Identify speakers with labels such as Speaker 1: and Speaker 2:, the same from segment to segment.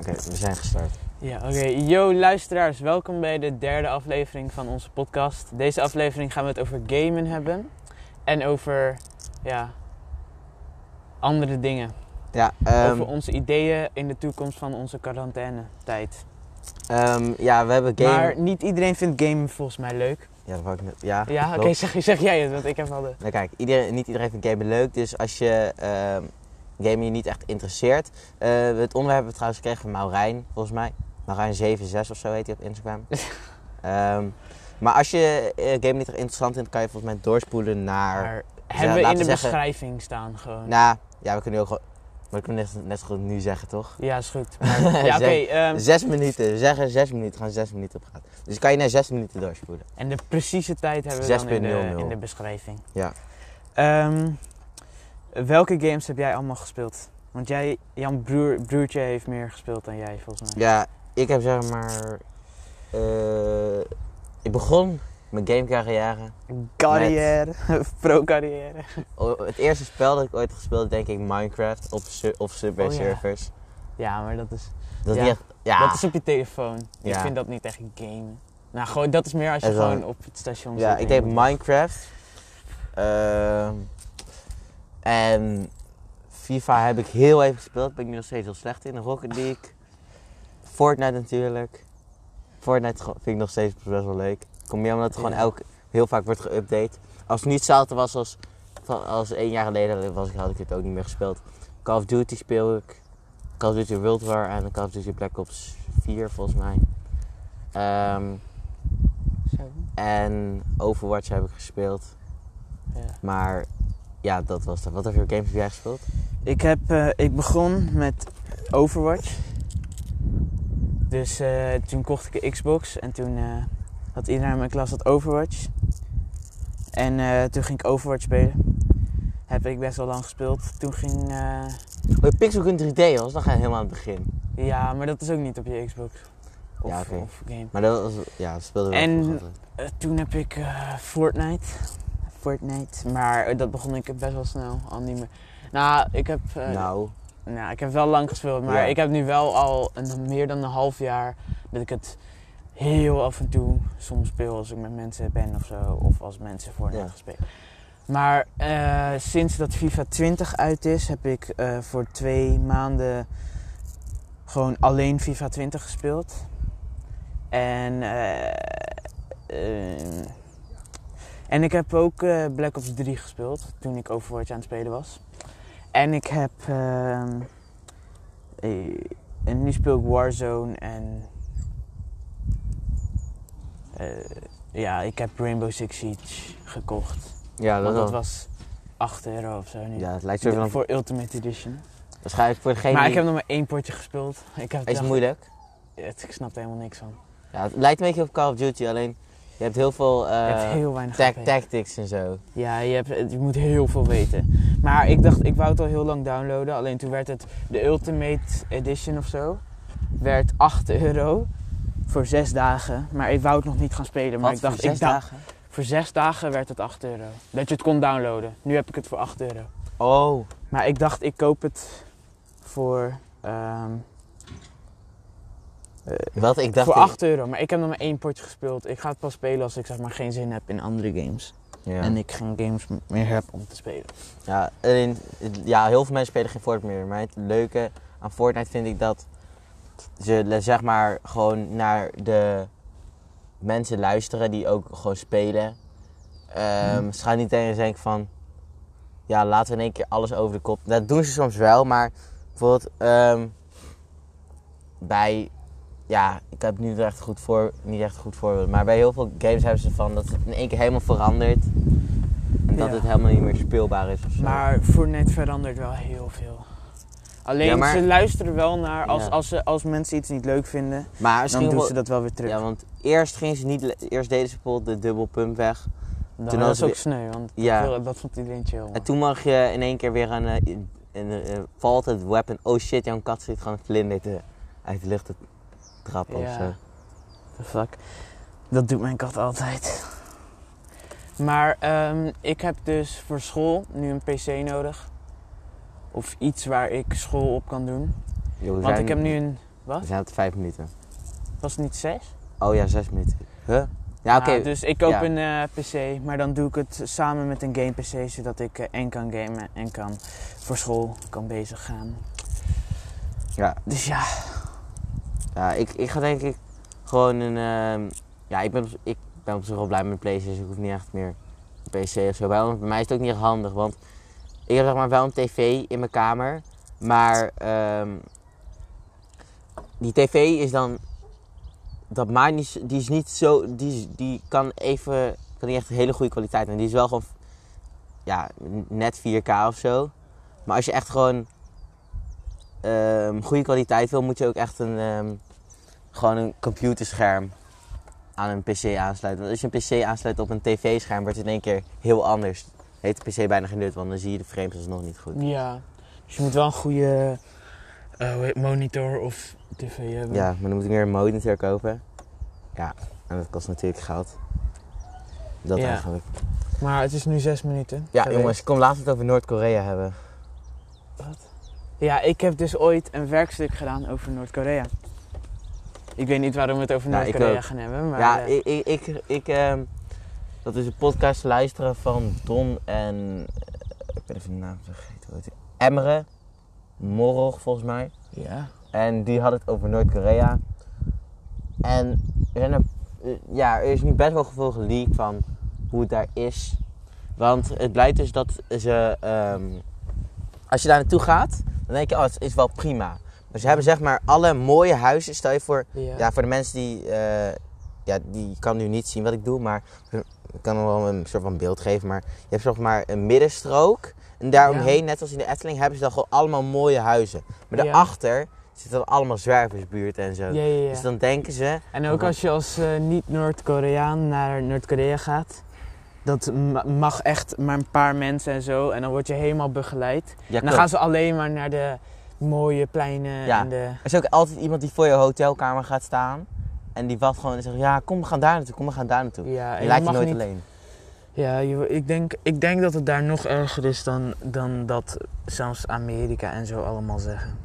Speaker 1: Oké, we zijn gestart.
Speaker 2: Ja, oké. Yo, luisteraars, welkom bij de derde aflevering van onze podcast. Deze aflevering gaan we het over gamen hebben. En over, ja, andere dingen.
Speaker 1: Ja, ehm,
Speaker 2: over onze ideeën in de toekomst van onze quarantaine-tijd.
Speaker 1: ehm, ja, we hebben game.
Speaker 2: Maar niet iedereen vindt gamen volgens mij leuk.
Speaker 1: Ja, dat wou ik net. Ja,
Speaker 2: Ja, oké,
Speaker 1: Ah, klopt.
Speaker 2: zeg, zeg jij het, want ik heb al de...
Speaker 1: Nou, kijk, iedereen, niet iedereen vindt gamen leuk, dus als je ehm gamen je niet echt interesseert. eh, het onderwerp hebben we trouwens gekregen van Maurijn, volgens mij. Maurijn76 of zo heet hij op Instagram. Ehm, maar als je eh, gamen niet echt interessant vindt, kan je volgens mij doorspoelen naar.
Speaker 2: Maar
Speaker 1: laten
Speaker 2: hebben we in
Speaker 1: we
Speaker 2: de
Speaker 1: zeggen-
Speaker 2: beschrijving staan gewoon.
Speaker 1: Nou, ja, we kunnen ook gewoon. Maar ik kan net, net zo goed nu zeggen, toch?
Speaker 2: Ja, is goed. Maar, ja, oké.
Speaker 1: Zeg-
Speaker 2: ehm,
Speaker 1: Zes minuten, we zeggen zes minuten, gaan zes minuten op gaan. Dus kan je naar zes minuten doorspoelen.
Speaker 2: En de precieze tijd hebben we dan in de,
Speaker 1: 6.00.
Speaker 2: in de beschrijving.
Speaker 1: Ja.
Speaker 2: Ehm, welke games heb jij allemaal gespeeld? Want jij, Jan broer, broertje heeft meer gespeeld dan jij volgens mij.
Speaker 1: Ja, ik heb zeg maar. eh, ik begon mijn gamecarrière.
Speaker 2: Carrière, pro-carrière.
Speaker 1: O- Het eerste spel dat ik ooit heb gespeeld, denk ik Minecraft op su- of Subway
Speaker 2: Oh, ja.
Speaker 1: Surfers.
Speaker 2: Ja, maar dat is,
Speaker 1: Dat is
Speaker 2: Ja.
Speaker 1: niet echt. Ja,
Speaker 2: dat is op je telefoon. Ik
Speaker 1: Ja.
Speaker 2: vind dat niet echt gamen. Nou, gewoon, dat is meer als je
Speaker 1: Dat is wel-
Speaker 2: gewoon op het station zit.
Speaker 1: ja
Speaker 2: en
Speaker 1: ik
Speaker 2: je
Speaker 1: deed
Speaker 2: moet-
Speaker 1: Minecraft. Ehm, en FIFA heb ik heel even gespeeld. Ben ik nu nog steeds heel slecht in. Rocket League. Fortnite natuurlijk. Fortnite ge- vind ik nog steeds best wel leuk. Komt meer omdat het gewoon
Speaker 2: Ja.
Speaker 1: elk, heel vaak wordt geüpdate. Als het niet hetzelfde was als, van- als één jaar geleden was, ik, had ik het ook niet meer gespeeld. Call of Duty speel ik. Call of Duty World War en Call of Duty Black Ops 4 volgens mij. Ehm,
Speaker 2: Zo.
Speaker 1: en Overwatch heb ik gespeeld.
Speaker 2: Ja.
Speaker 1: Maar ja, dat was het. Wat voor games heb jij gespeeld?
Speaker 2: Ik, heb, eh, ik begon met Overwatch. Dus eh, toen kocht ik een Xbox en toen eh, had iedereen in mijn klas dat Overwatch. En eh, toen ging ik Overwatch spelen. Heb ik best wel lang gespeeld. Toen ging. eh,
Speaker 1: Oh, Pixel Gun 3D was, dan ga je helemaal aan het begin.
Speaker 2: ja, maar dat is ook niet op je Xbox. Of,
Speaker 1: Ja, oké.
Speaker 2: of game.
Speaker 1: Maar dat was, ja, dat speelde wel
Speaker 2: En-
Speaker 1: vroeger altijd.
Speaker 2: Eh, toen heb ik eh, Fortnite. Fortnite. Maar eh, dat begon ik best wel snel. Al niet meer. Nou, ik heb. eh,
Speaker 1: nou,
Speaker 2: Nou, ik heb wel lang gespeeld, maar
Speaker 1: Ja.
Speaker 2: ik heb nu wel al een, meer dan een half jaar dat ik het heel af en toe soms speel als ik met mensen ben of zo, of als mensen voor
Speaker 1: Ja.
Speaker 2: ja. spelen. Maar eh, sinds dat FIFA 20 uit is, heb ik eh, voor twee maanden gewoon alleen FIFA 20 gespeeld. En, eh, eh, en ik heb ook eh, Black Ops 3 gespeeld toen ik Overwatch aan het spelen was. En ik heb. ehm, eh, en nu speel ik Warzone en. eh, ja, ik heb Rainbow Six Siege gekocht.
Speaker 1: ja, dat,
Speaker 2: want dat
Speaker 1: was.
Speaker 2: was 8 euro of zo nu.
Speaker 1: Ja, het lijkt zo van.
Speaker 2: voor Ultimate Edition.
Speaker 1: Waarschijnlijk voor degene.
Speaker 2: maar ik
Speaker 1: die-
Speaker 2: heb nog maar één potje gespeeld. Ik heb
Speaker 1: Is het
Speaker 2: dacht-
Speaker 1: moeilijk?
Speaker 2: het- ik snap er helemaal niks van.
Speaker 1: Ja, het lijkt een beetje op Call of Duty, alleen je hebt heel veel eh,
Speaker 2: je hebt heel weinig
Speaker 1: tac-
Speaker 2: HP.
Speaker 1: tactics en zo.
Speaker 2: Ja, je, hebt, je moet heel veel weten. Maar ik dacht, ik wou het al heel lang downloaden. Alleen toen werd het de Ultimate Edition of zo. Werd 8 euro voor 6 dagen. Maar ik wou het nog niet gaan spelen. Maar
Speaker 1: Wat,
Speaker 2: ik dacht,
Speaker 1: voor zes
Speaker 2: ik dacht-
Speaker 1: dagen?
Speaker 2: voor 6 dagen werd het 8 euro. Dat je het kon downloaden. Nu heb ik het voor 8 euro.
Speaker 1: Oh,
Speaker 2: Maar ik dacht, ik koop het voor, ehm,
Speaker 1: wat ik dacht.
Speaker 2: voor
Speaker 1: ik-
Speaker 2: 8 euro. Maar ik heb nog maar één potje gespeeld. Ik ga het pas spelen als ik zeg maar geen zin heb in andere games.
Speaker 1: Ja.
Speaker 2: En ik geen games m- meer heb om te spelen.
Speaker 1: Ja, alleen, het- ja, heel veel mensen spelen geen Fortnite meer. Maar het leuke aan Fortnite vind ik dat ze le- zeg maar gewoon naar de mensen luisteren die ook gewoon spelen. Ehm Ze gaan niet tegen denken van, ja, laten we in één keer alles over de kop. Dat doen ze soms wel, maar bijvoorbeeld ehm, bij, ja, ik heb nu echt goed voor, niet echt een goed voorbeeld. Maar bij heel veel games hebben ze van dat het in één keer helemaal verandert. En dat
Speaker 2: Ja.
Speaker 1: het helemaal niet meer speelbaar is of zo.
Speaker 2: Maar Fortnite verandert wel heel veel. Alleen
Speaker 1: Ja, maar-
Speaker 2: ze luisteren wel naar als,
Speaker 1: Ja.
Speaker 2: als, ze, als mensen iets niet leuk vinden,
Speaker 1: Maar
Speaker 2: dan
Speaker 1: misschien
Speaker 2: doen
Speaker 1: wel-
Speaker 2: ze dat wel weer terug.
Speaker 1: Ja, want eerst gingen ze niet. le- Eerst deden ze bijvoorbeeld de dubbelpump weg.
Speaker 2: dan
Speaker 1: toen
Speaker 2: dat
Speaker 1: hadden
Speaker 2: is
Speaker 1: ze
Speaker 2: ook sneu, want
Speaker 1: Ja.
Speaker 2: dat wil- dat vond iedereen chill. man.
Speaker 1: En toen mag je in één keer weer een. eh, in- in- eh, valt het weapon. Oh shit, jouw kat zit gewoon een vlinder te, uit de lucht te trappen of
Speaker 2: Ja.
Speaker 1: zo.
Speaker 2: The fuck. Dat doet mijn kat altijd. Maar ehm, ik heb dus voor school nu een pc nodig. Of iets waar ik school op kan doen.
Speaker 1: Yo, we
Speaker 2: Want
Speaker 1: zijn-
Speaker 2: ik heb nu een
Speaker 1: We zijn op de vijf minuten.
Speaker 2: Was het niet zes?
Speaker 1: Oh ja, zes minuten. Huh? Ja, Ah, oké.
Speaker 2: Nou, dus ik koop
Speaker 1: ja.
Speaker 2: een eh, PC, maar dan doe ik het samen met een game PC, zodat ik eh, en kan gamen en kan voor school kan bezig gaan.
Speaker 1: Ja.
Speaker 2: Dus ja,
Speaker 1: Ja, ik, ik ga denk ik gewoon een... ehm, ja, ik ben, op- ik ben op zich wel blij met PlayStation. dus Ik hoef niet echt meer een PC of zo. Bij, bij mij is het ook niet echt handig, want ik heb zeg maar wel een tv in mijn kamer. Maar ehm, die tv is dan... Dat maakt niet, z- die is niet zo... Die, is- die kan even... Kan niet echt een hele goede kwaliteit. En die is wel gewoon... Ja, net 4K of zo. Maar als je echt gewoon ehm, goede kwaliteit wil, moet je ook echt een, ehm, gewoon een computerscherm aan een PC aansluiten. Want als je een PC aansluit op een tv-scherm, wordt het in één keer heel anders. Heeft de PC bijna geen nut, want dan zie je de frames alsnog niet goed.
Speaker 2: ja. Dus je moet wel een goede eh, hoe heet- monitor of tv hebben.
Speaker 1: Ja, maar dan moet ik weer een monitor kopen. Ja, en dat kost natuurlijk geld. Dat
Speaker 2: Ja.
Speaker 1: eigenlijk.
Speaker 2: Maar het is nu zes minuten.
Speaker 1: Ja,
Speaker 2: geweest.
Speaker 1: jongens, kom laten we het over Noord-Korea hebben.
Speaker 2: Ja, ik heb dus ooit een werkstuk gedaan over Noord-Korea. Ik weet niet waarom we het over
Speaker 1: Ja, ik
Speaker 2: Noord-Korea
Speaker 1: ook.
Speaker 2: gaan hebben, maar...
Speaker 1: ja,
Speaker 2: eh,
Speaker 1: ik, ik, ik, ik, ehm, dat is een podcast te luisteren van Don en, eh, ik ben even de naam vergeten, hoe heet die? Emmeren, Morog volgens mij.
Speaker 2: ja.
Speaker 1: En die had het over Noord-Korea. En er, zijn een- eh, ja, er is nu best wel veel geleakt van hoe het daar is. Want het blijkt dus dat ze... ehm, als je daar naartoe gaat, dan denk je, oh, het is wel prima. Maar ze hebben zeg maar alle mooie huizen. Stel je voor,
Speaker 2: Ja.
Speaker 1: ja, voor de mensen die... eh, ja, die kan nu niet zien wat ik doe, maar ik kan hem wel een soort van beeld geven. Maar je hebt zeg maar een middenstrook. En daaromheen, net als in de Efteling, hebben ze dan gewoon allemaal mooie huizen. Maar
Speaker 2: Ja.
Speaker 1: daarachter zitten dan allemaal zwerversbuurt en zo.
Speaker 2: Ja, ja, ja.
Speaker 1: Dus dan denken ze...
Speaker 2: En ook als je als eh, niet-Noord-Koreaan naar Noord-Korea gaat, dat ma- mag echt maar een paar mensen en zo. En dan word je helemaal begeleid.
Speaker 1: Ja,
Speaker 2: En dan gaan ze alleen maar naar de mooie pleinen
Speaker 1: Ja.
Speaker 2: en de...
Speaker 1: Er is ook altijd iemand die voor je hotelkamer gaat staan. En die wacht gewoon en zegt, ja, kom, we gaan daar naartoe, kom, we gaan daar naartoe.
Speaker 2: Ja, en
Speaker 1: je laat je
Speaker 2: mag
Speaker 1: nooit
Speaker 2: niet-
Speaker 1: alleen.
Speaker 2: Ja, je- ik, denk, ik denk dat het daar nog erger is dan, dan dat zelfs Amerika en zo allemaal zeggen.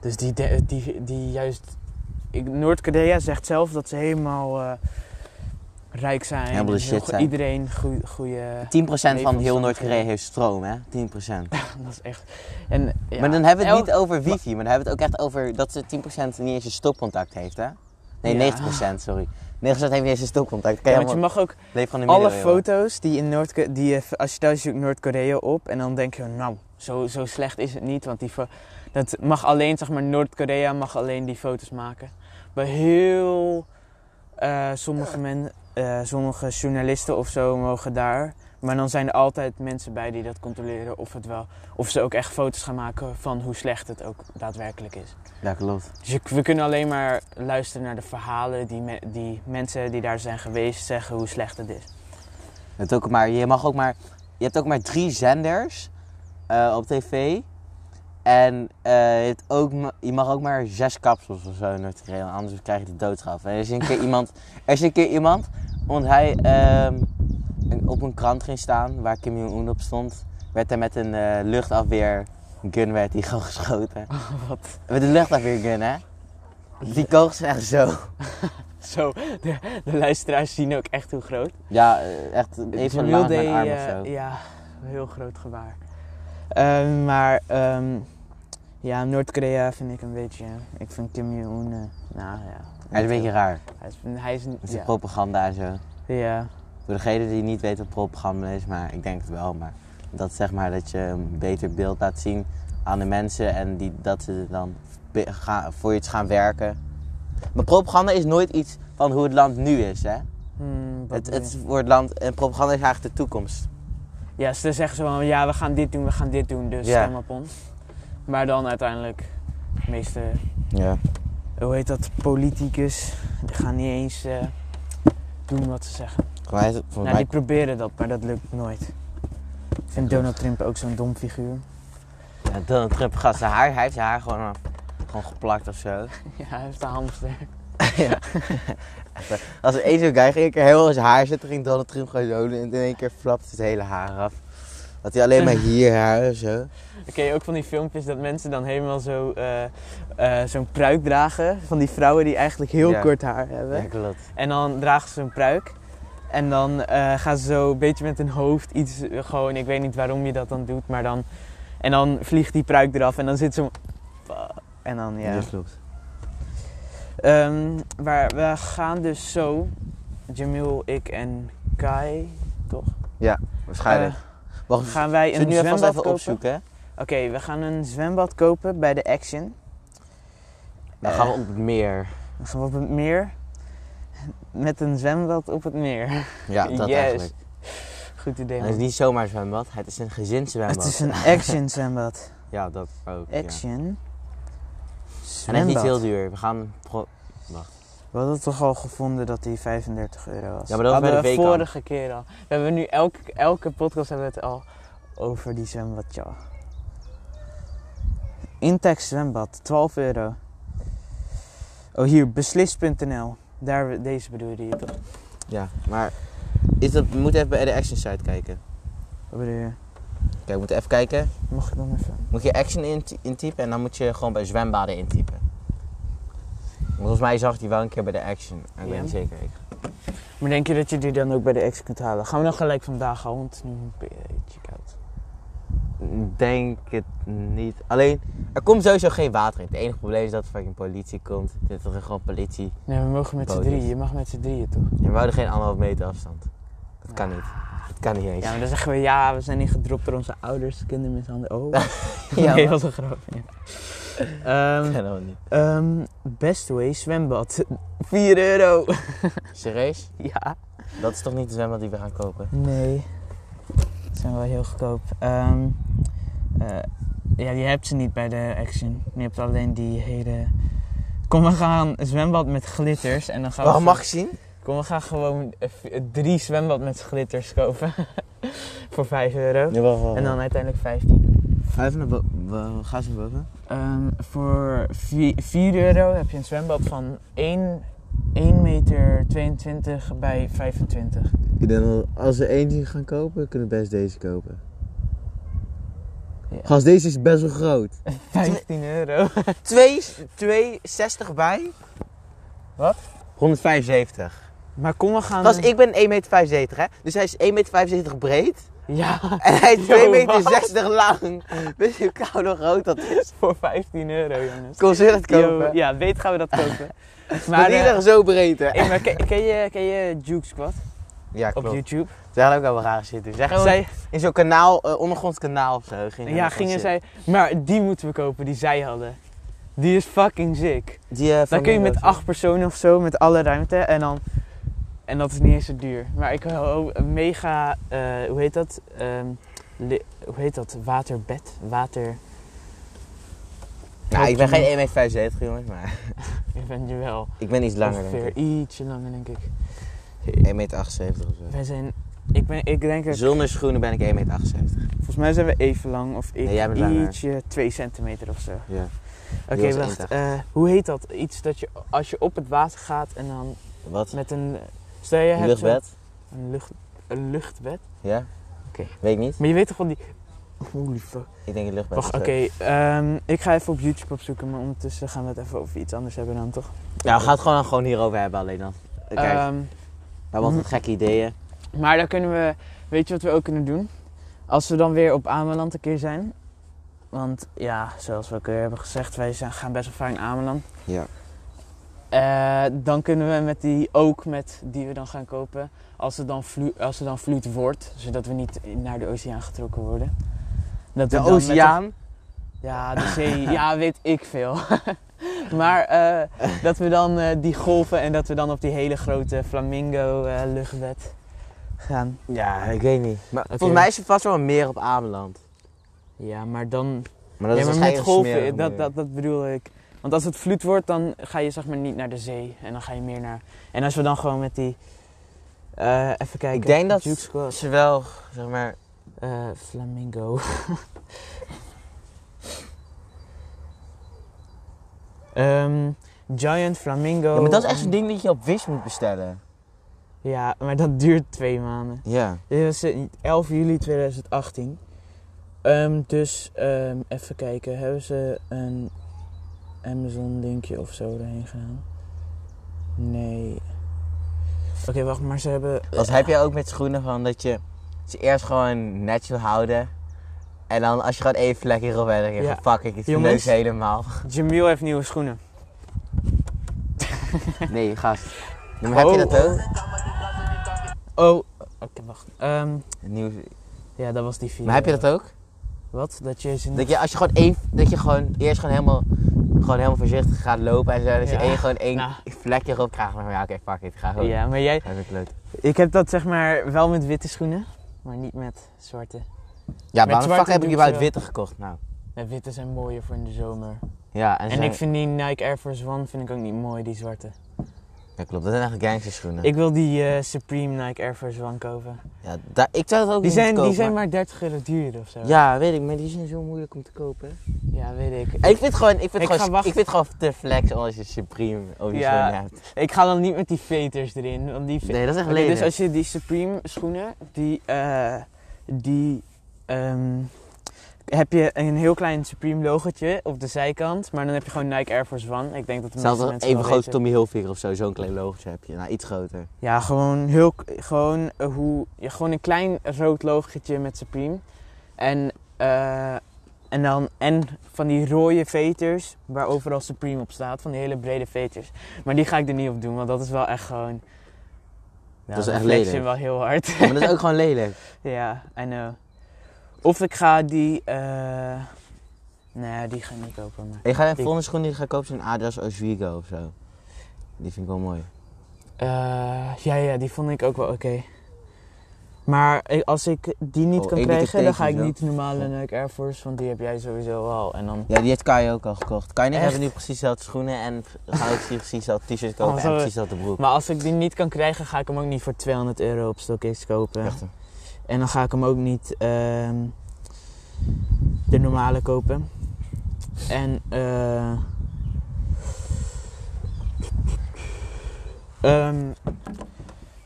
Speaker 2: Dus die, de- die, die juist... ik- Noord-Korea zegt zelf dat ze helemaal eh, rijk zijn.
Speaker 1: Helemaal de
Speaker 2: en heel
Speaker 1: shit
Speaker 2: go-
Speaker 1: zijn.
Speaker 2: Iedereen goede...
Speaker 1: 10% van heel
Speaker 2: Leefomstandigheden.
Speaker 1: Noord-Korea heeft stroom, hè? 10%.
Speaker 2: Dat is echt. En, ja,
Speaker 1: maar dan hebben we het
Speaker 2: elk-
Speaker 1: niet over wifi, maar dan hebben we het ook echt over dat ze 10% niet eens een stopcontact heeft, hè?
Speaker 2: Ja.
Speaker 1: Nee, 90%, sorry. 90% heeft niet eens een stopcontact. Kan
Speaker 2: Ja,
Speaker 1: je
Speaker 2: want je
Speaker 1: helemaal-
Speaker 2: mag ook
Speaker 1: leef gewoon in de
Speaker 2: alle
Speaker 1: middeleeuwen.
Speaker 2: foto's die in Noord die je, als je thuis zoekt Noord-Korea op en dan denk je nou zo, zo slecht is het niet, want die fo- dat mag alleen zeg maar Noord-Korea mag alleen die foto's maken. Bij heel eh, sommige men, eh, sommige journalisten of zo mogen daar, maar dan zijn er altijd mensen bij die dat controleren of het wel of ze ook echt foto's gaan maken van hoe slecht het ook daadwerkelijk is.
Speaker 1: Ja, klopt.
Speaker 2: Dus je- we kunnen alleen maar luisteren naar de verhalen die, me- die mensen die daar zijn geweest zeggen hoe slecht het is.
Speaker 1: Je, hebt ook maar, je, mag ook maar, je hebt ook maar drie zenders eh, op tv. En eh, je, hebt ook, ma- je mag ook maar zes kapsels of zo in Noord-Korea, anders krijg je de doodstraf. En er is een keer iemand, er is een keer iemand want hij ehm, een- op een krant ging staan waar Kim Jong-un op stond, werd hij met een eh, luchtafweergun werd hij gewoon geschoten.
Speaker 2: Wat?
Speaker 1: Met een luchtafweergun, hè? Die kogels zijn echt zo.
Speaker 2: Zo, de, de luisteraars zien ook echt hoe groot.
Speaker 1: Ja, eh, echt even van de
Speaker 2: Jamil
Speaker 1: laan met mijn arm
Speaker 2: deed,
Speaker 1: of
Speaker 2: eh,
Speaker 1: zo.
Speaker 2: ja, een heel groot gebaar. Ehm, maar ehm, ja, Noord-Korea vind ik een beetje. Ik vind Kim Jong-un. eh, nou ja.
Speaker 1: Hij is een beetje raar.
Speaker 2: Hij is, hij is een.
Speaker 1: Het is
Speaker 2: Ja.
Speaker 1: propaganda en zo.
Speaker 2: ja.
Speaker 1: Voor degene die niet weet wat propaganda is, maar ik denk het wel. Maar dat zeg maar dat je een beter beeld laat zien aan de mensen en die, dat ze er dan be- gaan, voor iets gaan werken. Maar propaganda is nooit iets van hoe het land nu is, hè?
Speaker 2: Hmm, wat
Speaker 1: Het,
Speaker 2: bedoel je?
Speaker 1: het wordt land, en propaganda is eigenlijk de toekomst.
Speaker 2: Ja, ze zeggen zo van ja, we gaan dit doen, we gaan dit doen, dus
Speaker 1: Ja.
Speaker 2: stem op ons. Maar dan uiteindelijk, de meeste
Speaker 1: Ja.
Speaker 2: hoe heet dat, politicus, die gaan niet eens eh, doen wat ze zeggen.
Speaker 1: Voor
Speaker 2: Nou, die proberen dat, maar dat lukt nooit. Ik vind Donald Trump ook zo'n dom figuur.
Speaker 1: ja, Donald Trump, gast, zijn haar, hij heeft zijn haar gewoon, af- gewoon geplakt of zo.
Speaker 2: Ja, hij heeft een hamster.
Speaker 1: ja. Als er één zo'n guy ging, ik er heel zijn haar zitten, ging Donald Trump gewoon zo doen en in één keer flapte het hele haar af. Dat hij alleen maar hier haar zo.
Speaker 2: Oké, ook van die filmpjes dat mensen dan helemaal zo, eh, eh, zo'n pruik dragen. Van die vrouwen die eigenlijk heel
Speaker 1: Ja.
Speaker 2: kort haar hebben.
Speaker 1: Ja, klopt.
Speaker 2: En dan dragen ze een pruik. En dan eh, gaan ze zo een beetje met hun hoofd iets, eh, gewoon, ik weet niet waarom je dat dan doet, maar dan... En dan vliegt die pruik eraf en dan zit ze... En dan, ja.
Speaker 1: Ja, klopt.
Speaker 2: Ehm, maar we gaan dus zo, Jamil, ik en Kai,
Speaker 1: Waarschijnlijk.
Speaker 2: eh,
Speaker 1: Wacht,
Speaker 2: gaan wij
Speaker 1: zullen
Speaker 2: een
Speaker 1: we nu
Speaker 2: zwembad
Speaker 1: even, even
Speaker 2: kopen.
Speaker 1: opzoeken? hè?
Speaker 2: Oké, we gaan een zwembad kopen bij de Action.
Speaker 1: Dan
Speaker 2: Eh.
Speaker 1: gaan we op het meer.
Speaker 2: We gaan op het meer. Met een zwembad op het meer.
Speaker 1: Ja, dat
Speaker 2: Yes.
Speaker 1: eigenlijk.
Speaker 2: Goed idee.
Speaker 1: En het is
Speaker 2: man.
Speaker 1: niet zomaar een zwembad, het is een gezinszwembad.
Speaker 2: Het is een action zwembad.
Speaker 1: Ja, dat ook. ja.
Speaker 2: Action.
Speaker 1: En hij is niet
Speaker 2: Zwembad.
Speaker 1: heel duur. We gaan. pro-
Speaker 2: We hadden toch al gevonden dat die 35 euro was.
Speaker 1: Ja, maar dat was bij
Speaker 2: hadden
Speaker 1: de
Speaker 2: we
Speaker 1: Vekan.
Speaker 2: vorige keer al. We hebben nu elke, elke podcast hebben we het al over die zwembad, ja. Intex zwembad, 12 euro. Oh, hier, beslist.nl. Daar, deze bedoelde je toch?
Speaker 1: Ja, maar. Is dat, we moeten even bij de Action site kijken.
Speaker 2: Wat bedoel je?
Speaker 1: Kijk, we moeten even kijken.
Speaker 2: Mag ik dan even?
Speaker 1: Moet je Action inty- intypen en dan moet je gewoon bij zwembaden intypen. Want Volgens mij zag ik die wel een keer bij de Action. Ik
Speaker 2: Ja.
Speaker 1: weet niet zeker. Ik-
Speaker 2: Maar denk je dat je die dan ook bij de ex kunt halen? Gaan we dan gelijk vandaag al, want het is nu een beetje koud.
Speaker 1: Denk het niet. Alleen, er komt sowieso geen water in. Het enige probleem is dat er fucking politie komt. Dit is gewoon politie.
Speaker 2: Nee, we mogen met z'n
Speaker 1: Bootjes.
Speaker 2: drieën. Je mag met z'n drieën, toch?
Speaker 1: En we houden geen anderhalf meter afstand. Dat kan niet. Dat kan niet eens.
Speaker 2: Ja, maar dan zeggen we ja, we zijn ingedropt door onze ouders, kindermishandeling. Oh,
Speaker 1: Ja,
Speaker 2: nee,
Speaker 1: maar-
Speaker 2: wat een grap. Ja.
Speaker 1: dat
Speaker 2: Ehm,
Speaker 1: kan ook niet.
Speaker 2: ehm, best way zwembad. 4 euro.
Speaker 1: Serieus?
Speaker 2: ja.
Speaker 1: Dat is toch niet de zwembad die we gaan kopen?
Speaker 2: Nee. Dat zijn wel heel goedkoop. Ehm, eh, ja, je hebt ze niet bij de Action. Je hebt alleen die hele... Kom, we gaan zwembad met glitters. En dan gaan we...
Speaker 1: Waarom
Speaker 2: zo-
Speaker 1: Oh, mag ik zien?
Speaker 2: Kom, we gaan gewoon eh, v- eh, drie zwembad met glitters kopen. Voor 5 euro. En dan uiteindelijk 15.
Speaker 1: Vijf naar boven. Ga ze naar boven?
Speaker 2: Ehm, voor 4 euro heb je een zwembad van 1, 1 meter 22 bij 25.
Speaker 1: Ik denk dat als we eentje gaan kopen, kunnen we best deze kopen.
Speaker 2: Ja.
Speaker 1: Gast, deze is best wel groot.
Speaker 2: 15 euro.
Speaker 1: 260 bij?
Speaker 2: Wat?
Speaker 1: 175.
Speaker 2: Maar kom, we gaan...
Speaker 1: Gast, ik ben 1,75 meter, hè? Dus hij is 1,75 meter breed.
Speaker 2: Ja,
Speaker 1: En hij is 2,60
Speaker 2: Yo,
Speaker 1: meter
Speaker 2: wat?
Speaker 1: 60 lang. Weet je hoe koud en groot dat is?
Speaker 2: voor 15 euro, jongens.
Speaker 1: Kon ze dat
Speaker 2: Yo,
Speaker 1: kopen?
Speaker 2: ja, weet gaan we dat kopen.
Speaker 1: Maar
Speaker 2: maar
Speaker 1: die
Speaker 2: eh,
Speaker 1: liggen zo breed, hè?
Speaker 2: hey, maar ken, ken je, ken je Juke Squad
Speaker 1: Ja,
Speaker 2: op YouTube?
Speaker 1: Ze gaan ook allemaal raar zitten. Ze gaan
Speaker 2: Zij,
Speaker 1: in zo'n kanaal, eh, ondergronds kanaal of zo. Gingen
Speaker 2: ja,
Speaker 1: dat
Speaker 2: gingen
Speaker 1: zitten.
Speaker 2: zij... Maar die moeten we kopen, die zij hadden. Die is fucking sick.
Speaker 1: Die, eh,
Speaker 2: Dan kun je met
Speaker 1: flamingo's.
Speaker 2: acht personen of zo, met alle ruimte. En, dan, en dat is niet eens zo duur. Maar ik hou een mega, eh, hoe heet dat? Ehm, li- hoe heet dat? Waterbed? Water...
Speaker 1: Nou, ik ben geen 1,75 meter, jongens, maar
Speaker 2: Ik ben je wel.
Speaker 1: ik ben iets langer,
Speaker 2: Ongeveer
Speaker 1: denk ik.
Speaker 2: ietsje langer, denk ik.
Speaker 1: 1,78 meter of zo.
Speaker 2: Wij zijn... Ik, ben, ik denk... dat-
Speaker 1: Zonder schoenen ben ik 1,78 meter.
Speaker 2: Volgens mij zijn we even lang. Of ik
Speaker 1: Nee, jij bent langer.
Speaker 2: ietsje 2 centimeter of zo.
Speaker 1: Ja.
Speaker 2: Oké,
Speaker 1: was
Speaker 2: wacht.
Speaker 1: 1,80.
Speaker 2: eh, hoe heet dat? Iets dat je... Als je op het water gaat en dan
Speaker 1: Wat?
Speaker 2: met een... Stel je
Speaker 1: Een
Speaker 2: hebt zo'n-
Speaker 1: luchtbed?
Speaker 2: Een, lucht, een luchtbed.
Speaker 1: Ja?
Speaker 2: Oké.
Speaker 1: Weet ik niet.
Speaker 2: Maar je weet toch wel die... Holy fuck.
Speaker 1: Ik denk een luchtbed.
Speaker 2: Wacht,
Speaker 1: of
Speaker 2: oké.
Speaker 1: zo.
Speaker 2: ehm, ik ga even op YouTube opzoeken, maar ondertussen gaan we het even over iets anders hebben dan, toch?
Speaker 1: Nou, we gaan het gewoon, gewoon hierover hebben alleen dan. Kijk, we
Speaker 2: Ehm,
Speaker 1: hebben altijd Nou, gekke ideeën.
Speaker 2: maar dan kunnen we... Weet je wat we ook kunnen doen? Als we dan weer op Ameland een keer zijn. Want ja, zoals we ook weer hebben gezegd, wij zijn, gaan best wel vaak naar Ameland.
Speaker 1: Ja.
Speaker 2: Eh, dan kunnen we met die ook, met die we dan gaan kopen, als het dan, vloe, als het dan vloed wordt, zodat we niet naar de oceaan getrokken worden. Dat we
Speaker 1: De
Speaker 2: dan met
Speaker 1: oceaan.
Speaker 2: Ja, de zee, ja, weet ik veel. maar eh, dat we dan eh, die golven en dat we dan op die hele grote flamingo-luchtbed gaan.
Speaker 1: Ja, ik weet niet. Maar
Speaker 2: Oké.
Speaker 1: Volgens mij is er vast wel een meer op Ameland.
Speaker 2: Ja, maar dan.
Speaker 1: Maar dat
Speaker 2: ja,
Speaker 1: is
Speaker 2: maar met
Speaker 1: waarschijnlijk een smerige
Speaker 2: golven, dat,
Speaker 1: meer.
Speaker 2: dat, dat bedoel ik. Want als het vloed wordt, dan ga je zeg maar niet naar de zee. En dan ga je meer naar. En als we dan gewoon met die. eh, even kijken.
Speaker 1: Ik denk dat-
Speaker 2: Juke Squad.
Speaker 1: Ze wel, zeg maar,
Speaker 2: Eh, flamingo. Ehm, giant flamingo.
Speaker 1: Ja, maar dat is echt zo'n ding dat je op Wish moet bestellen.
Speaker 2: Ja, maar dat duurt twee maanden.
Speaker 1: Ja.
Speaker 2: Dit was eh, 11 juli 2018. Ehm, dus ehm, even kijken, hebben ze een Amazon linkje of zo erheen gedaan? Nee. Oké, wacht, maar ze hebben.
Speaker 1: Als Dus heb je ook met schoenen van dat je ze eerst gewoon net wil houden. En dan als je gewoon één vlek hierop hebt, dan denk je
Speaker 2: Ja.
Speaker 1: van, fuck ik, het
Speaker 2: Jongens.
Speaker 1: neus helemaal.
Speaker 2: Jamil heeft nieuwe schoenen.
Speaker 1: Nee, gast. Dan heb je
Speaker 2: Oh.
Speaker 1: dat ook?
Speaker 2: Oh, oké, wacht. Ehm,
Speaker 1: Nieuw...
Speaker 2: ja, dat was die video.
Speaker 1: Maar heb je dat ook?
Speaker 2: Wat? Dat je ze
Speaker 1: Dat je als je gewoon één, dat je gewoon eerst gewoon helemaal, gewoon helemaal voorzichtig gaat lopen en zo. Dat je
Speaker 2: Ja.
Speaker 1: één, gewoon één
Speaker 2: Nou.
Speaker 1: vlekje erop krijgt. Maar ja, oké, fuck it, ga gewoon.
Speaker 2: Ja, maar jij.
Speaker 1: Ga even kloot.
Speaker 2: Ik heb dat zeg maar wel met witte schoenen, maar niet met zwarte.
Speaker 1: Ja, waarom de fuck
Speaker 2: zwarte
Speaker 1: heb ik
Speaker 2: doek
Speaker 1: überhaupt
Speaker 2: zo.
Speaker 1: witte gekocht nou?
Speaker 2: De witte zijn mooier voor in de zomer.
Speaker 1: Ja, en,
Speaker 2: En
Speaker 1: zo-
Speaker 2: ik vind die Nike Air Force One vind ik ook niet mooi, die zwarte.
Speaker 1: Ja, klopt, dat zijn eigenlijk gangsterschoenen.
Speaker 2: Ik wil die eh, Supreme Nike Air Force One kopen.
Speaker 1: Ja, daar, ik zou het ook
Speaker 2: Die
Speaker 1: niet
Speaker 2: zijn,
Speaker 1: kopen,
Speaker 2: die zijn maar 30 euro duurder of zo.
Speaker 1: Ja, weet ik, maar die zijn zo moeilijk om te kopen.
Speaker 2: Ja, weet ik.
Speaker 1: En ik vind gewoon, ik vind
Speaker 2: Ik ga
Speaker 1: gewoon, ik
Speaker 2: wachten.
Speaker 1: vind gewoon te flex als je Supreme of je
Speaker 2: Ja.
Speaker 1: schoenen hebt.
Speaker 2: Ik ga dan niet met die veters erin. Want die ve-
Speaker 1: Nee, dat is echt
Speaker 2: Oké,
Speaker 1: lelijk.
Speaker 2: dus als je die Supreme schoenen, die, eh, die ehm, heb je een heel klein Supreme logotje op de zijkant. Maar dan heb je gewoon Nike Air Force One. Ik denk dat de meeste
Speaker 1: Zelfs als
Speaker 2: mensen
Speaker 1: even
Speaker 2: wel
Speaker 1: groot als
Speaker 2: weten.
Speaker 1: Tommy Hilfiger of zo, zo'n klein logotje heb je. Nou, iets groter.
Speaker 2: Ja, gewoon heel, k- gewoon eh, hoe, ja, gewoon een klein rood logotje met Supreme. En, eh, en dan, en van die rode veters, waar overal Supreme op staat, van die hele brede veters. Maar die ga ik er niet op doen, want dat is wel echt gewoon...
Speaker 1: Dat is
Speaker 2: de
Speaker 1: echt
Speaker 2: flex
Speaker 1: lelijk.
Speaker 2: je wel heel hard.
Speaker 1: Maar dat is ook gewoon lelijk.
Speaker 2: Ja, I know. Of ik ga die, eh nee, die ga ik niet kopen, maar...
Speaker 1: En je gaat de
Speaker 2: Ik-
Speaker 1: volgende schoen die je gaat kopen, zo'n Adidas Oswego of zo. Die vind ik wel mooi.
Speaker 2: Eh, ja, ja, die vond ik ook wel oké. Maar ik- als ik die niet
Speaker 1: Oh,
Speaker 2: kan
Speaker 1: één dikke
Speaker 2: krijgen, dan ga ik
Speaker 1: teentje
Speaker 2: niet de normale
Speaker 1: Oh.
Speaker 2: Nike Air Force, want die heb jij sowieso al. En dan...
Speaker 1: Ja, die heeft Kai ook al gekocht. Kai en ik
Speaker 2: Echt?
Speaker 1: hebben nu precies dezelfde schoenen en gaan ook precies dezelfde t-shirt kopen
Speaker 2: Oh,
Speaker 1: en
Speaker 2: zo-
Speaker 1: precies dezelfde broek.
Speaker 2: Maar als ik die niet kan krijgen, ga ik hem ook niet voor 200 euro op StockX kopen.
Speaker 1: Echt, hè.
Speaker 2: En dan ga ik hem ook niet ehm, de normale kopen. En eh. ehm,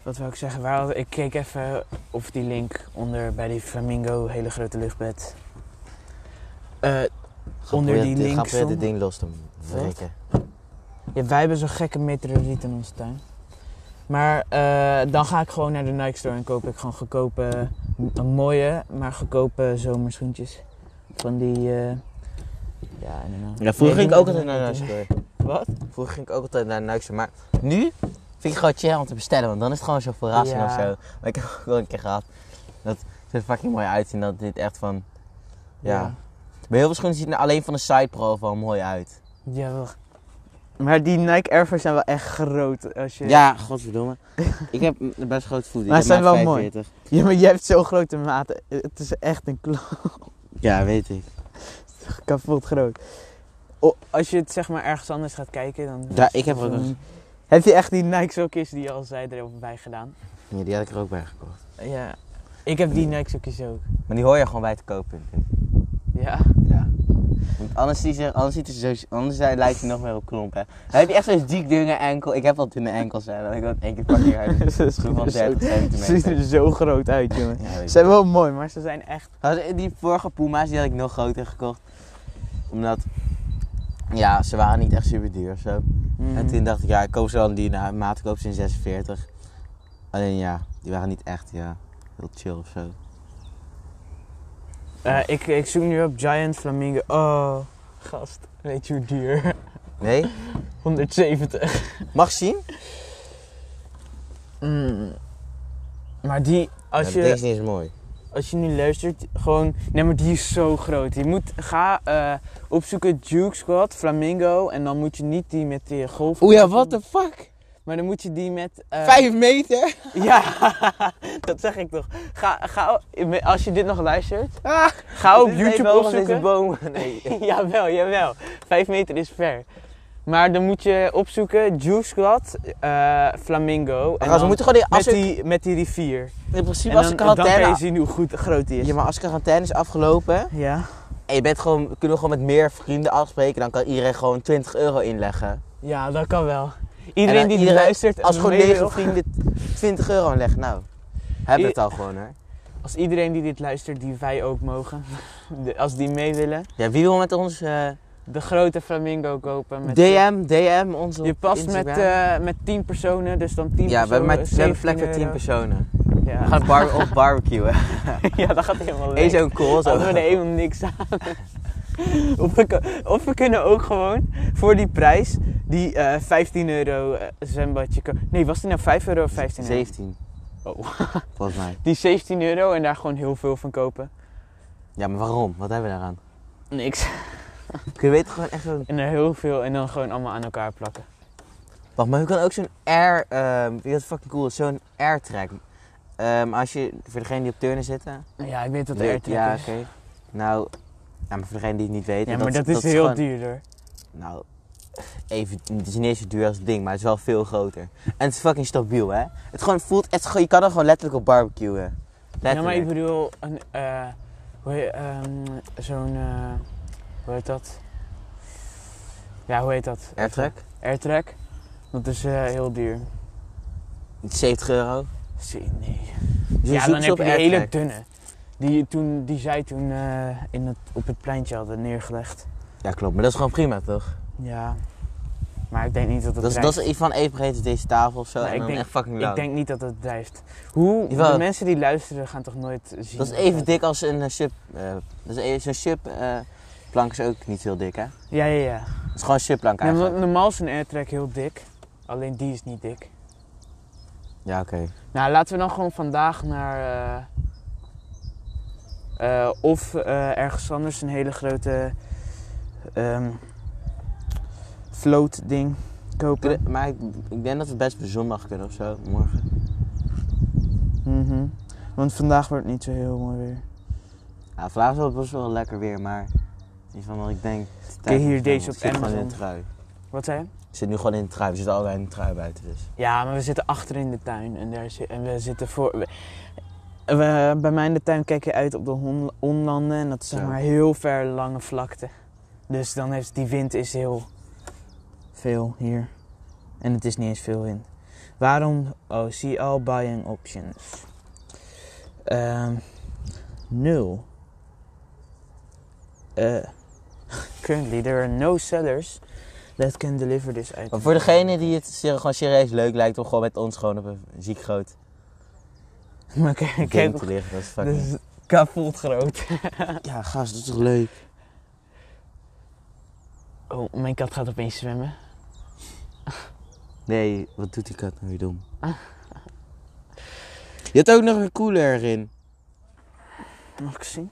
Speaker 2: wat wil ik zeggen? Waar, had- ik keek even of die link onder bij die Flamingo hele grote luchtbed. Eh,
Speaker 1: Ga
Speaker 2: Onder
Speaker 1: proberen
Speaker 2: die
Speaker 1: dit- Ga
Speaker 2: links
Speaker 1: proberen dit
Speaker 2: om.
Speaker 1: ding los te breken.
Speaker 2: ja, wij hebben zo'n gekke meteoriet in onze tuin. Maar eh, dan ga ik gewoon naar de Nike Store en koop ik gewoon goedkope, m- mooie, maar goedkope zomerschoentjes. Van die, eh, ja, I don't know.
Speaker 1: Ja, vroeger
Speaker 2: Nee,
Speaker 1: ging ik
Speaker 2: die
Speaker 1: ook
Speaker 2: moet-
Speaker 1: altijd naar Nike Store.
Speaker 2: Wat?
Speaker 1: Vroeger ging ik ook altijd naar Nike Store. Maar nu vind ik gewoon chill om te bestellen, want dan is het gewoon zo'n verrassing
Speaker 2: Ja.
Speaker 1: of zo. Maar ik heb ook wel een keer gehad dat ze er fucking mooi uitzien. Dat dit echt van, ja.
Speaker 2: Ja.
Speaker 1: Bij heel veel schoenen ziet het er alleen van de side profile mooi uit.
Speaker 2: Ja, wel. Maar die Nike Air Force zijn wel echt groot. Als je...
Speaker 1: Ja, godverdomme. ik heb een best groot voet.
Speaker 2: Maar
Speaker 1: Ik
Speaker 2: ze
Speaker 1: heb
Speaker 2: zijn wel
Speaker 1: maat
Speaker 2: mooi.
Speaker 1: 45.
Speaker 2: Ja, maar je hebt zo'n grote maten. Het is echt een klo-
Speaker 1: Ja, weet ik.
Speaker 2: kapot groot. O, als je het zeg maar ergens anders gaat kijken, dan...
Speaker 1: Ja, ik heb er ook een-
Speaker 2: Heb je echt die Nike sokjes die je al zei erop bij gedaan?
Speaker 1: Ja, die had ik er ook bij gekocht.
Speaker 2: Ja. Ik heb die Nike sokjes ook.
Speaker 1: Maar die hoor je gewoon bij te kopen.
Speaker 2: Ja.
Speaker 1: Ja. Want anders, ziet ze, anders, ziet ze zo, anders hij- lijkt hij nog meer op klomp, hè. Dan heb je echt zo'n dik dunne enkel. Ik heb wel dunne enkels, hè. Dan heb ik dat één keer pakje uit.
Speaker 2: Ze
Speaker 1: Schoen van 30
Speaker 2: ziet
Speaker 1: centimeter.
Speaker 2: er zo groot uit, jongen.
Speaker 1: Ja,
Speaker 2: Ze
Speaker 1: weet ik.
Speaker 2: zijn wel mooi, maar ze zijn echt...
Speaker 1: Had- Die vorige Puma's, die had ik nog groter gekocht. Omdat, ja, ze waren niet echt super duur of zo.
Speaker 2: Mm.
Speaker 1: En toen dacht ik, ja, ik koop ze wel in die na- maat, ik koop ze in 46. Alleen ja, die waren niet echt, ja, heel chill of zo.
Speaker 2: Eh, ik, ik zoek nu op Giant Flamingo. Oh, gast. Weet je hoe duur?
Speaker 1: Nee?
Speaker 2: 170.
Speaker 1: Mag ik zien?
Speaker 2: Mm. Maar die, als
Speaker 1: ja,
Speaker 2: je...
Speaker 1: Deze is niet eens mooi.
Speaker 2: als je nu luistert, gewoon. Nee, maar die is zo groot. Je moet ga eh, opzoeken Duke Squad, Flamingo. En dan moet je niet die met die golf.
Speaker 1: Oeh ja, what the fuck?
Speaker 2: Maar dan moet je die met. eh,
Speaker 1: Vijf meter?
Speaker 2: Ja, dat zeg ik toch. Ga, ga, als je dit nog luistert,
Speaker 1: Ah.
Speaker 2: ga op YouTube
Speaker 1: Deze
Speaker 2: opzoeken.
Speaker 1: bomen. Nee.
Speaker 2: jawel, jawel. Vijf meter is ver. Maar dan moet je opzoeken Duke Squad, eh, Flamingo. En
Speaker 1: Maar ze
Speaker 2: dan
Speaker 1: moeten gewoon die, als
Speaker 2: met,
Speaker 1: ik,
Speaker 2: die, met die rivier.
Speaker 1: in principe
Speaker 2: En
Speaker 1: als
Speaker 2: dan,
Speaker 1: de
Speaker 2: dan kan je
Speaker 1: quarantaine...
Speaker 2: zien hoe goed, groot die is.
Speaker 1: Ja, maar als de quarantaine is afgelopen
Speaker 2: ja.
Speaker 1: en je bent gewoon, kunnen we gewoon met meer vrienden afspreken, dan kan iedereen gewoon 20 euro inleggen.
Speaker 2: Ja, dat kan wel.
Speaker 1: En
Speaker 2: Iedereen
Speaker 1: dan
Speaker 2: die
Speaker 1: iedereen-
Speaker 2: luistert en
Speaker 1: Als gewoon
Speaker 2: mee wil-
Speaker 1: 9 vrienden 20 euro inleggen, nou, hebben we
Speaker 2: I-
Speaker 1: het al gewoon hè.
Speaker 2: Als iedereen die dit luistert, die wij ook mogen, de- als die mee willen,
Speaker 1: Ja, wie wil met ons eh,
Speaker 2: de grote flamingo kopen. Met
Speaker 1: DM, DM ons op
Speaker 2: Je past
Speaker 1: Instagram.
Speaker 2: met, eh met 10 personen, dus dan 10
Speaker 1: ja, we hebben,
Speaker 2: personen.
Speaker 1: maar- we hebben plek voor 10
Speaker 2: 17 euro. Oh,
Speaker 1: personen. We
Speaker 2: Ja.
Speaker 1: gaan bar of barbecuen.
Speaker 2: ja, dat gaat helemaal leuk.
Speaker 1: Eén zo'n cool. Zo.
Speaker 2: Hadden Oh, we er helemaal niks aan. of, we, kun- of we kunnen ook gewoon voor die prijs die eh 15 euro eh, zwembadje ko- Nee, was die nou 5 euro of 15 euro?
Speaker 1: 17.
Speaker 2: Oh.
Speaker 1: Volgens mij.
Speaker 2: Die 17 euro en daar gewoon heel veel van kopen.
Speaker 1: Ja, maar waarom? Wat hebben we daaraan?
Speaker 2: Niks.
Speaker 1: Kun je weten gewoon echt zo'n...
Speaker 2: En er heel veel en dan gewoon allemaal aan elkaar plakken.
Speaker 1: Wacht, maar je kan ook zo'n air... ehm weet je wat fucking cool is? Zo'n airtrack. Ehm als je... Voor degenen die op turnen zitten...
Speaker 2: Ja, ik weet dat
Speaker 1: Leuk.
Speaker 2: er
Speaker 1: Ja,
Speaker 2: ja,
Speaker 1: oké. Nou... Ja, maar voor degenen die het niet weten...
Speaker 2: Ja, maar dat, is heel
Speaker 1: gewoon-
Speaker 2: duur hoor.
Speaker 1: Nou... Even, het is niet eens zo duur als het ding, maar het is wel veel groter. En het is fucking stabiel, hè? Het gewoon voelt... Het, is gewoon- je kan er gewoon letterlijk op barbecuen. Letterlijk.
Speaker 2: Ja, maar ik bedoel, een, eh, hoe heet, ehm, zo'n, eh, hoe heet dat? Ja, hoe heet dat?
Speaker 1: Airtrack?
Speaker 2: Airtrack. Dat is eh, heel duur.
Speaker 1: 70 euro.
Speaker 2: Zie, nee.
Speaker 1: Dus
Speaker 2: ja,
Speaker 1: zoek
Speaker 2: dan
Speaker 1: ze
Speaker 2: heb
Speaker 1: op
Speaker 2: je een hele
Speaker 1: Airtrack.
Speaker 2: dunne. Die, toen, die zij toen eh, in het, op het pleintje hadden neergelegd.
Speaker 1: Ja, klopt. Maar dat is gewoon prima, toch?
Speaker 2: Ja. Maar ik denk niet dat het
Speaker 1: Dat is, dat
Speaker 2: drijft.
Speaker 1: is iets van even breed als deze tafel of zo.
Speaker 2: Nee,
Speaker 1: en
Speaker 2: ik
Speaker 1: dan
Speaker 2: denk-
Speaker 1: echt fucking
Speaker 2: ik
Speaker 1: lang.
Speaker 2: denk niet dat het drijft. Hoe?
Speaker 1: Jawel.
Speaker 2: De mensen die luisteren gaan toch nooit zien.
Speaker 1: dat is
Speaker 2: of
Speaker 1: even
Speaker 2: wat?
Speaker 1: dik als een eh, sub. eh, dat is even- Zo'n sub eh, plank is ook niet heel dik, hè?
Speaker 2: Ja, ja, ja.
Speaker 1: Het is gewoon een subplank
Speaker 2: Nee,
Speaker 1: eigenlijk.
Speaker 2: want normaal is een airtrack heel dik. Alleen die is niet dik.
Speaker 1: Ja, oké.
Speaker 2: Nou, laten we dan gewoon vandaag naar. eh, eh, of eh, ergens anders een hele grote. ehm float ding kopen.
Speaker 1: Ik- Maar ik, ik denk dat we best op zondag kunnen of zo, morgen.
Speaker 2: Mhm. Want vandaag wordt het niet zo heel mooi weer.
Speaker 1: Ja, Nou, vandaag is het best wel lekker weer, maar... in ieder geval, ik denk... het is tijd
Speaker 2: Kijk, hier,
Speaker 1: om te gaan,
Speaker 2: deze
Speaker 1: want
Speaker 2: op
Speaker 1: ik zit gewoon in
Speaker 2: Amazon.
Speaker 1: een trui.
Speaker 2: Wat zei je?
Speaker 1: Ik zit nu gewoon in een trui. We zitten allebei in een trui buiten, dus...
Speaker 2: Ja, maar we zitten achter in de tuin en, daar zi- en we zitten voor. we- we- bij mij in de tuin kijk je uit op de hon- onlanden en dat is zeg
Speaker 1: Ja.
Speaker 2: maar heel ver lange vlakte. Dus dan heeft die wind is heel veel hier. En het is niet eens veel wind. Waarom? Oh, zie al buying options. Ehm nul. Eh, currently there are no sellers that can deliver this item.
Speaker 1: Maar voor degene die het ser- gewoon serieus leuk lijkt om gewoon met ons gewoon op een ziek groot
Speaker 2: Maar kijk,
Speaker 1: ding
Speaker 2: kijk
Speaker 1: te liggen, dat is
Speaker 2: Dat
Speaker 1: fucking...
Speaker 2: is kapot groot.
Speaker 1: Ja, gast, dat is toch leuk?
Speaker 2: Oh, mijn kat gaat opeens zwemmen.
Speaker 1: Nee, wat doet die kat nou weer dom? Je hebt ook nog een cooler erin.
Speaker 2: Mag ik zien?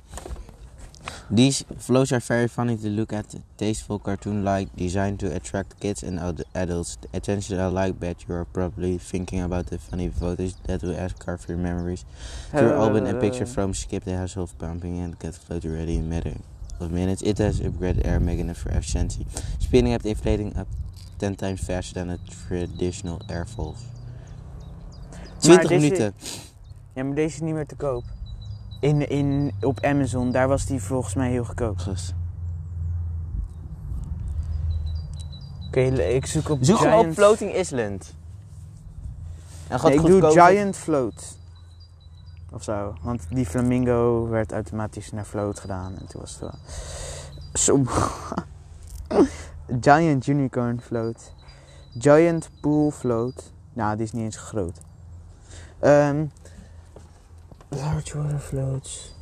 Speaker 1: These flows are very funny to look at. Tasteful cartoon-like, designed to attract kids and ad- adults. The attention I like, but you are probably thinking about the funny photos that will ask carve your memories. Through album and picture from Skip the House of Pumping and Get Float Ready in matter of minutes. It has upgraded air magnet for efficiency, speeding up the inflating up 10 times faster than a traditional air valve. 20
Speaker 2: deze-
Speaker 1: minuten.
Speaker 2: Ja, maar deze is niet meer te koop. In, in, op Amazon, daar was die volgens mij heel goedkoop.
Speaker 1: Gast.
Speaker 2: Oké, ik zoek op
Speaker 1: Zoek
Speaker 2: Giant...
Speaker 1: gewoon op Floating Island. En gaat
Speaker 2: Nee, ik doe
Speaker 1: goedkoper-
Speaker 2: Giant Float. Of zo. Want die flamingo werd automatisch naar float gedaan. En toen was het wel... Zo. Giant Unicorn Float. Giant Pool Float. Nou, die is niet eens groot. Ehm large Water Floats.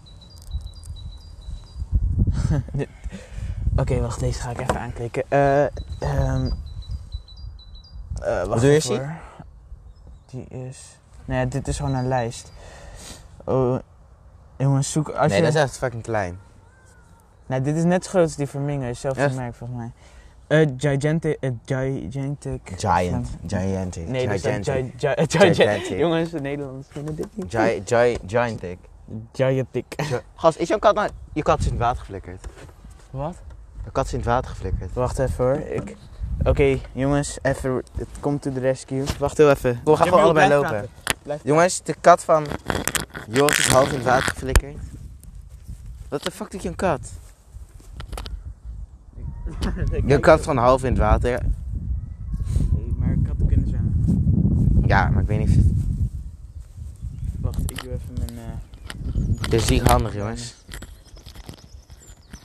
Speaker 2: Dit- Oké, wacht. Deze ga ik even aanklikken. Eh ehm eh, wacht
Speaker 1: doe je,
Speaker 2: even
Speaker 1: Sie?
Speaker 2: hoor. Die is... Nee, dit is gewoon een lijst. Oh, jongens, zoek... Als
Speaker 1: Nee,
Speaker 2: je...
Speaker 1: dat is echt fucking klein.
Speaker 2: Nou, dit is net zo groot als die Flamingo. Is zelfs
Speaker 1: Echt?
Speaker 2: het merk volgens mij. Eh gigantic, eh, gigantic.
Speaker 1: Giant. Gigantic.
Speaker 2: Nee, dat is
Speaker 1: gigantic.
Speaker 2: gi- gi-
Speaker 1: Gigantic.
Speaker 2: gigantic. Jongens, de Nederlanders kunnen dit niet.
Speaker 1: Gi- gi- gigantic.
Speaker 2: Gigantic.
Speaker 1: Gast, is jouw kat nou... Je kat is in het water geflikkerd.
Speaker 2: Wat?
Speaker 1: Je kat is in het water geflikkerd.
Speaker 2: Wacht even hoor. Ik... Oké, jongens, even. Het komt to the rescue. Wacht heel even.
Speaker 1: We gaan gewoon allebei lopen.
Speaker 2: Blijf-
Speaker 1: Jongens, de kat van Joris is half in het water geflikkerd. Wat de fuck doet je een kat? Je kat is gewoon half in het water.
Speaker 2: maar katten kunnen zwemmen.
Speaker 1: Ja, maar ik weet niet of...
Speaker 2: Wacht, ik doe even mijn. eh,
Speaker 1: Dit is ziek handig, jongens.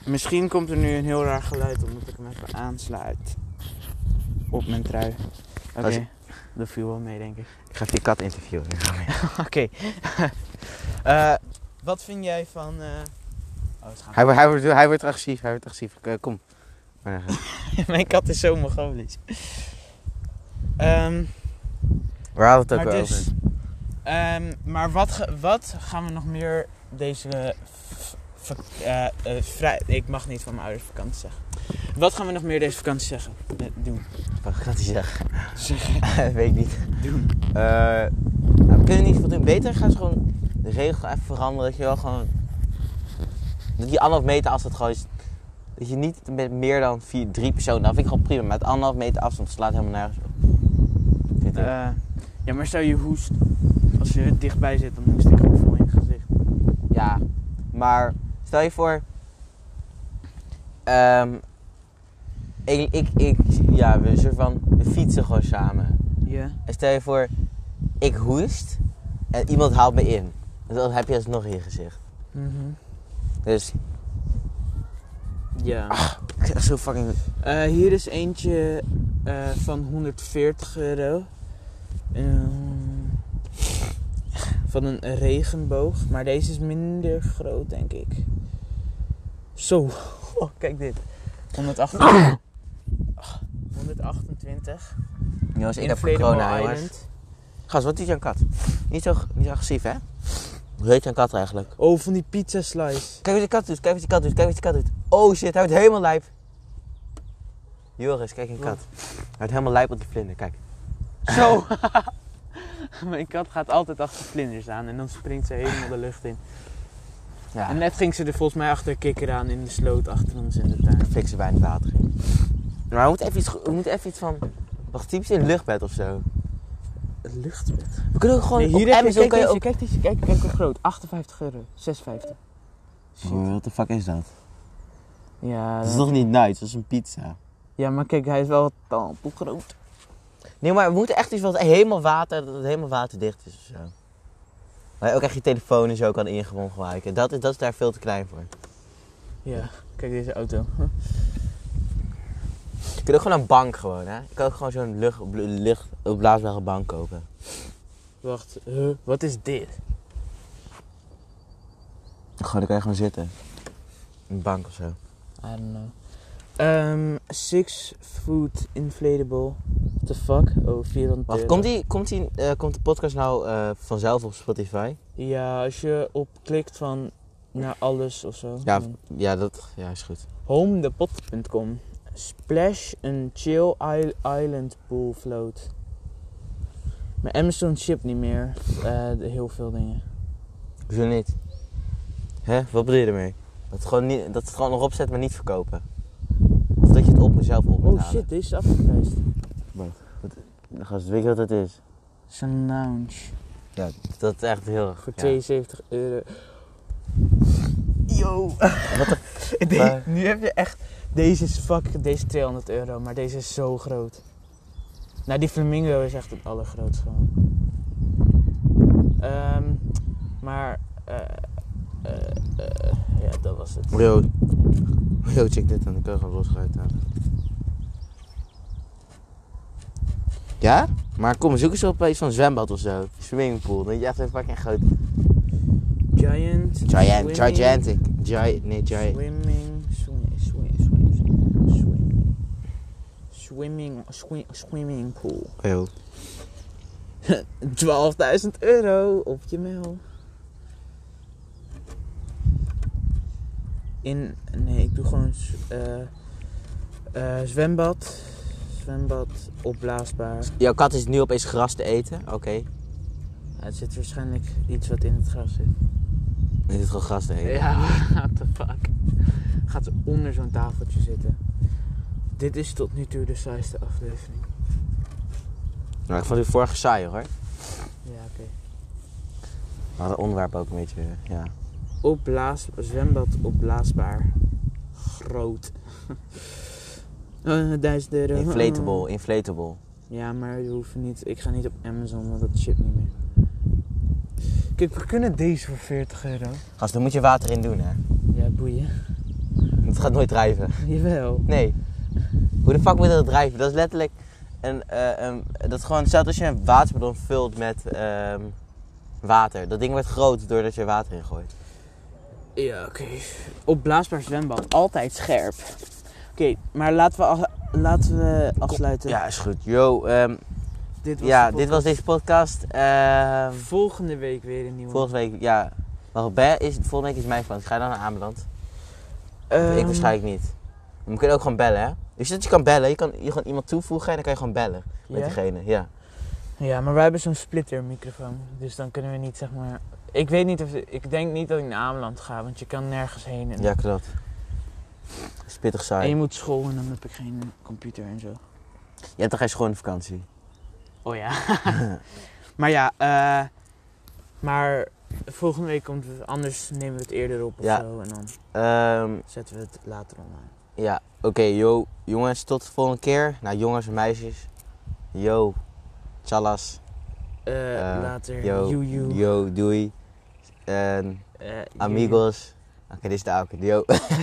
Speaker 2: Misschien komt er nu een heel raar geluid omdat ik hem even aansluit. Op mijn trui. Oké,
Speaker 1: Als je-
Speaker 2: dat viel wel mee denk ik.
Speaker 1: Ik ga even die kat interviewen.
Speaker 2: Oké. Eh, wat vind jij van... eh, Oh, het gaat
Speaker 1: Hij, wordt- hij, wordt, hij wordt agressief, hij wordt agressief. Ik, eh, kom. Maar, eh,
Speaker 2: Mijn kat is zo mogolisch. Ehm,
Speaker 1: Waar hadden we het
Speaker 2: maar
Speaker 1: ook
Speaker 2: dus...
Speaker 1: over?
Speaker 2: ehm, maar wat, ge- wat gaan we nog meer deze... eh, v- v- eh, eh, vrij... Ik mag niet van mijn ouders vakantie zeggen. Wat gaan we nog meer deze vakantie zeggen? Eh, doen.
Speaker 1: Wat gaat hij zeggen?
Speaker 2: Zeggen.
Speaker 1: Weet ik niet.
Speaker 2: Doen.
Speaker 1: Eh, nou, we kunnen niet veel doen. Beter gaan ze gewoon de regels gewoon even veranderen. Dat je wel gewoon... Dat die anderhalf meter afstand gewoon is... Dat je niet met meer dan vier, drie personen... Dat vind ik gewoon prima. Maar het anderhalf meter afstand slaat helemaal nergens op. Vind ik.
Speaker 2: Eh, ja, maar stel je hoest. Als je dichtbij zit, dan hoest ik gewoon vol in het gezicht.
Speaker 1: Ja, maar stel je voor. ehm, ik, ik, ik, ja, we, soort van, we fietsen gewoon samen.
Speaker 2: Ja.
Speaker 1: En stel je voor, ik hoest en iemand haalt me in. Dan heb je alsnog in je gezicht.
Speaker 2: Mhm.
Speaker 1: Dus
Speaker 2: Ja.
Speaker 1: ik zeg zo fucking.
Speaker 2: Eh, hier is eentje eh, van 140 euro. Ehm, van een regenboog. Maar deze is minder groot, denk ik. Zo. Oh, kijk dit. 128. 128.
Speaker 1: Jongens, ik heb
Speaker 2: Inflatable
Speaker 1: corona,
Speaker 2: Island.
Speaker 1: jongens. Gast, wat is jouw kat? Niet zo, niet zo agressief, hè? Hoe heet jouw kat eigenlijk?
Speaker 2: Oh, van die pizza slice.
Speaker 1: Kijk wat die kat doet, kijk wat die kat doet, kijk wat die kat doet. Oh shit, hij wordt helemaal lijp. Joris, kijk een kat. Hij wordt helemaal lijp op die vlinder, kijk.
Speaker 2: Zo. Mijn kat gaat altijd achter vlinders aan en dan springt ze helemaal de lucht in.
Speaker 1: Ja.
Speaker 2: En net ging ze er volgens mij achter een kikker aan in de sloot achter ons in de tuin.
Speaker 1: fik ze bijna het water in. Maar we moeten even iets, go- we moeten even iets van. Wacht, typisch in een luchtbed of zo.
Speaker 2: Het luchtbed.
Speaker 1: We kunnen ook gewoon.
Speaker 2: Nee, hier
Speaker 1: op
Speaker 2: heb je,
Speaker 1: Amazon
Speaker 2: kijk
Speaker 1: kan je
Speaker 2: deze,
Speaker 1: ook.
Speaker 2: kijk deze, kijk, kijk hoe groot. 58 euro, 6,50. Shit.
Speaker 1: wat de fuck is dat?
Speaker 2: Ja,
Speaker 1: Dat is nog niet nice, dat is een pizza.
Speaker 2: ja, maar kijk, hij is wel tampoe groot.
Speaker 1: Nee, maar we moeten echt iets wat helemaal water, dat het helemaal waterdicht is of zo. Waar je ook echt je telefoon en zo kan ingewoon gebruiken. Dat is, dat is daar veel te klein voor.
Speaker 2: Ja, kijk deze auto.
Speaker 1: Je kunt ook gewoon een bank gewoon, hè. Je kan ook gewoon zo'n lucht, bl- lucht opblaasbare bank kopen.
Speaker 2: Wacht, huh, wat is dit?
Speaker 1: Gewoon, dan kan je gewoon zitten. Een bank of zo.
Speaker 2: I don't know. Ehm, six foot inflatable. What the fuck? Oh, 400
Speaker 1: Wacht,
Speaker 2: euro.
Speaker 1: komt, die, komt, die, eh, komt de podcast nou eh, vanzelf op Spotify?
Speaker 2: Ja, als je op klikt van naar alles of zo.
Speaker 1: Ja,
Speaker 2: Dan
Speaker 1: ja, dat ja, is goed.
Speaker 2: Homedepot.com. Splash een chill i- island pool float. Mijn Amazon ship niet meer. Eh, de- heel veel dingen.
Speaker 1: Hoezo niet? Hè? Wat bedoel je ermee? Dat het gewoon, niet, dat het gewoon nog opzet, maar niet verkopen. Of dat je het op mezelf op moet
Speaker 2: Oh
Speaker 1: halen.
Speaker 2: shit, deze is afgeprijsd.
Speaker 1: Gast, weet je wat dat is?
Speaker 2: Het is een lounge.
Speaker 1: Dat is echt heel erg.
Speaker 2: Voor
Speaker 1: ja.
Speaker 2: 72 euro. Yo!
Speaker 1: Wat de
Speaker 2: De- nu heb je echt... Deze is fuck, deze 200 euro, maar deze is zo groot. Nou, die flamingo is echt het allergrootste gewoon. Ehm, maar, eh, eh, eh, ja, dat was het.
Speaker 1: Yo. Yo, check dit en dan kan je gewoon los eruit halen. Ja? Maar kom, zoek eens op iets van zwembad of zo. Swimmingpool. Dan je echt een fucking groot.
Speaker 2: Giant.
Speaker 1: Giant,
Speaker 2: swimming,
Speaker 1: gigantic. Giant, nee, giant.
Speaker 2: Swimming, swimming, swimming, swimming, swimming. Swimming, swi- swimming pool.
Speaker 1: Yo.
Speaker 2: 12.000 euro op je mail. In, nee, ik doe gewoon z- eh, eh, zwembad. Zwembad, opblaasbaar.
Speaker 1: Jouw kat is nu opeens gras te eten. Oké.
Speaker 2: Ja, het zit waarschijnlijk iets wat in het gras zit.
Speaker 1: Dit is gewoon gras te eten.
Speaker 2: what the fuck. Gaat ze onder zo'n tafeltje zitten. Dit is tot nu toe de saaiste aflevering.
Speaker 1: Nou, ik vond die vorige saai hoor.
Speaker 2: Ja, oké.
Speaker 1: Maar het onderwerp ook een beetje, ja.
Speaker 2: Opblaas, zwembad opblaasbaar. Groot. Eh, 1000 euro. Oh.
Speaker 1: Inflatable, inflatable.
Speaker 2: Ja, maar je hoeft niet. Ik ga niet op Amazon, want dat shit niet meer. Kijk, Kijk, we kunnen deze voor 40 euro.
Speaker 1: Gast, dan moet je water in doen, hè.
Speaker 2: Ja, boeien.
Speaker 1: Het gaat nooit drijven.
Speaker 2: Jawel.
Speaker 1: Nee. Hoe de fuck moet dat drijven? Dat is letterlijk een, eh, een- dat gewoon staat als je een waterballon vult met ehm, water. Dat ding wordt groot doordat je water in gooit.
Speaker 2: Ja, oké. Opblaasbaar zwembad, altijd scherp. Oké, maar laten we, af- laten we afsluiten.
Speaker 1: Ja, is goed. Yo, ehm,
Speaker 2: dit was
Speaker 1: ja,
Speaker 2: de
Speaker 1: dit was
Speaker 2: podcast.
Speaker 1: deze podcast. Ehm,
Speaker 2: Volgende week weer een nieuwe.
Speaker 1: volgende week, ja. Maar bij is, volgende week is mijn plan. Ga je dan naar Ameland? ik
Speaker 2: Ehm,
Speaker 1: waarschijnlijk niet. Maar we kunnen ook gewoon bellen, hè? Dus dat je kan bellen, je kan je gewoon iemand toevoegen en dan kan je gewoon bellen met
Speaker 2: ja?
Speaker 1: diegene. Ja.
Speaker 2: Ja, maar wij hebben zo'n splitter microfoon. Dus dan kunnen we niet zeg maar. Ik weet niet of. Ik denk niet dat ik naar Ameland ga, want je kan nergens heen. En,
Speaker 1: ja, klopt. Ehm. Spittig saai.
Speaker 2: en je moet school en dan heb ik geen computer en zo.
Speaker 1: Je hebt toch geen schone vakantie?
Speaker 2: Oh ja. maar ja, eh, maar volgende week komt het. Anders nemen we het eerder op of
Speaker 1: Ja.
Speaker 2: zo. En dan
Speaker 1: Ehm,
Speaker 2: zetten we het later online.
Speaker 1: Ja, oké, yo. Jongens, tot de volgende keer. Nou, jongens en meisjes. Yo. Tjallas.
Speaker 2: Eh,
Speaker 1: Eh,
Speaker 2: later.
Speaker 1: Yo.
Speaker 2: Joejoe.
Speaker 1: Yo, doei. En
Speaker 2: Eh, joejoe.
Speaker 1: amigos. Oké, dit is de oude. Yo.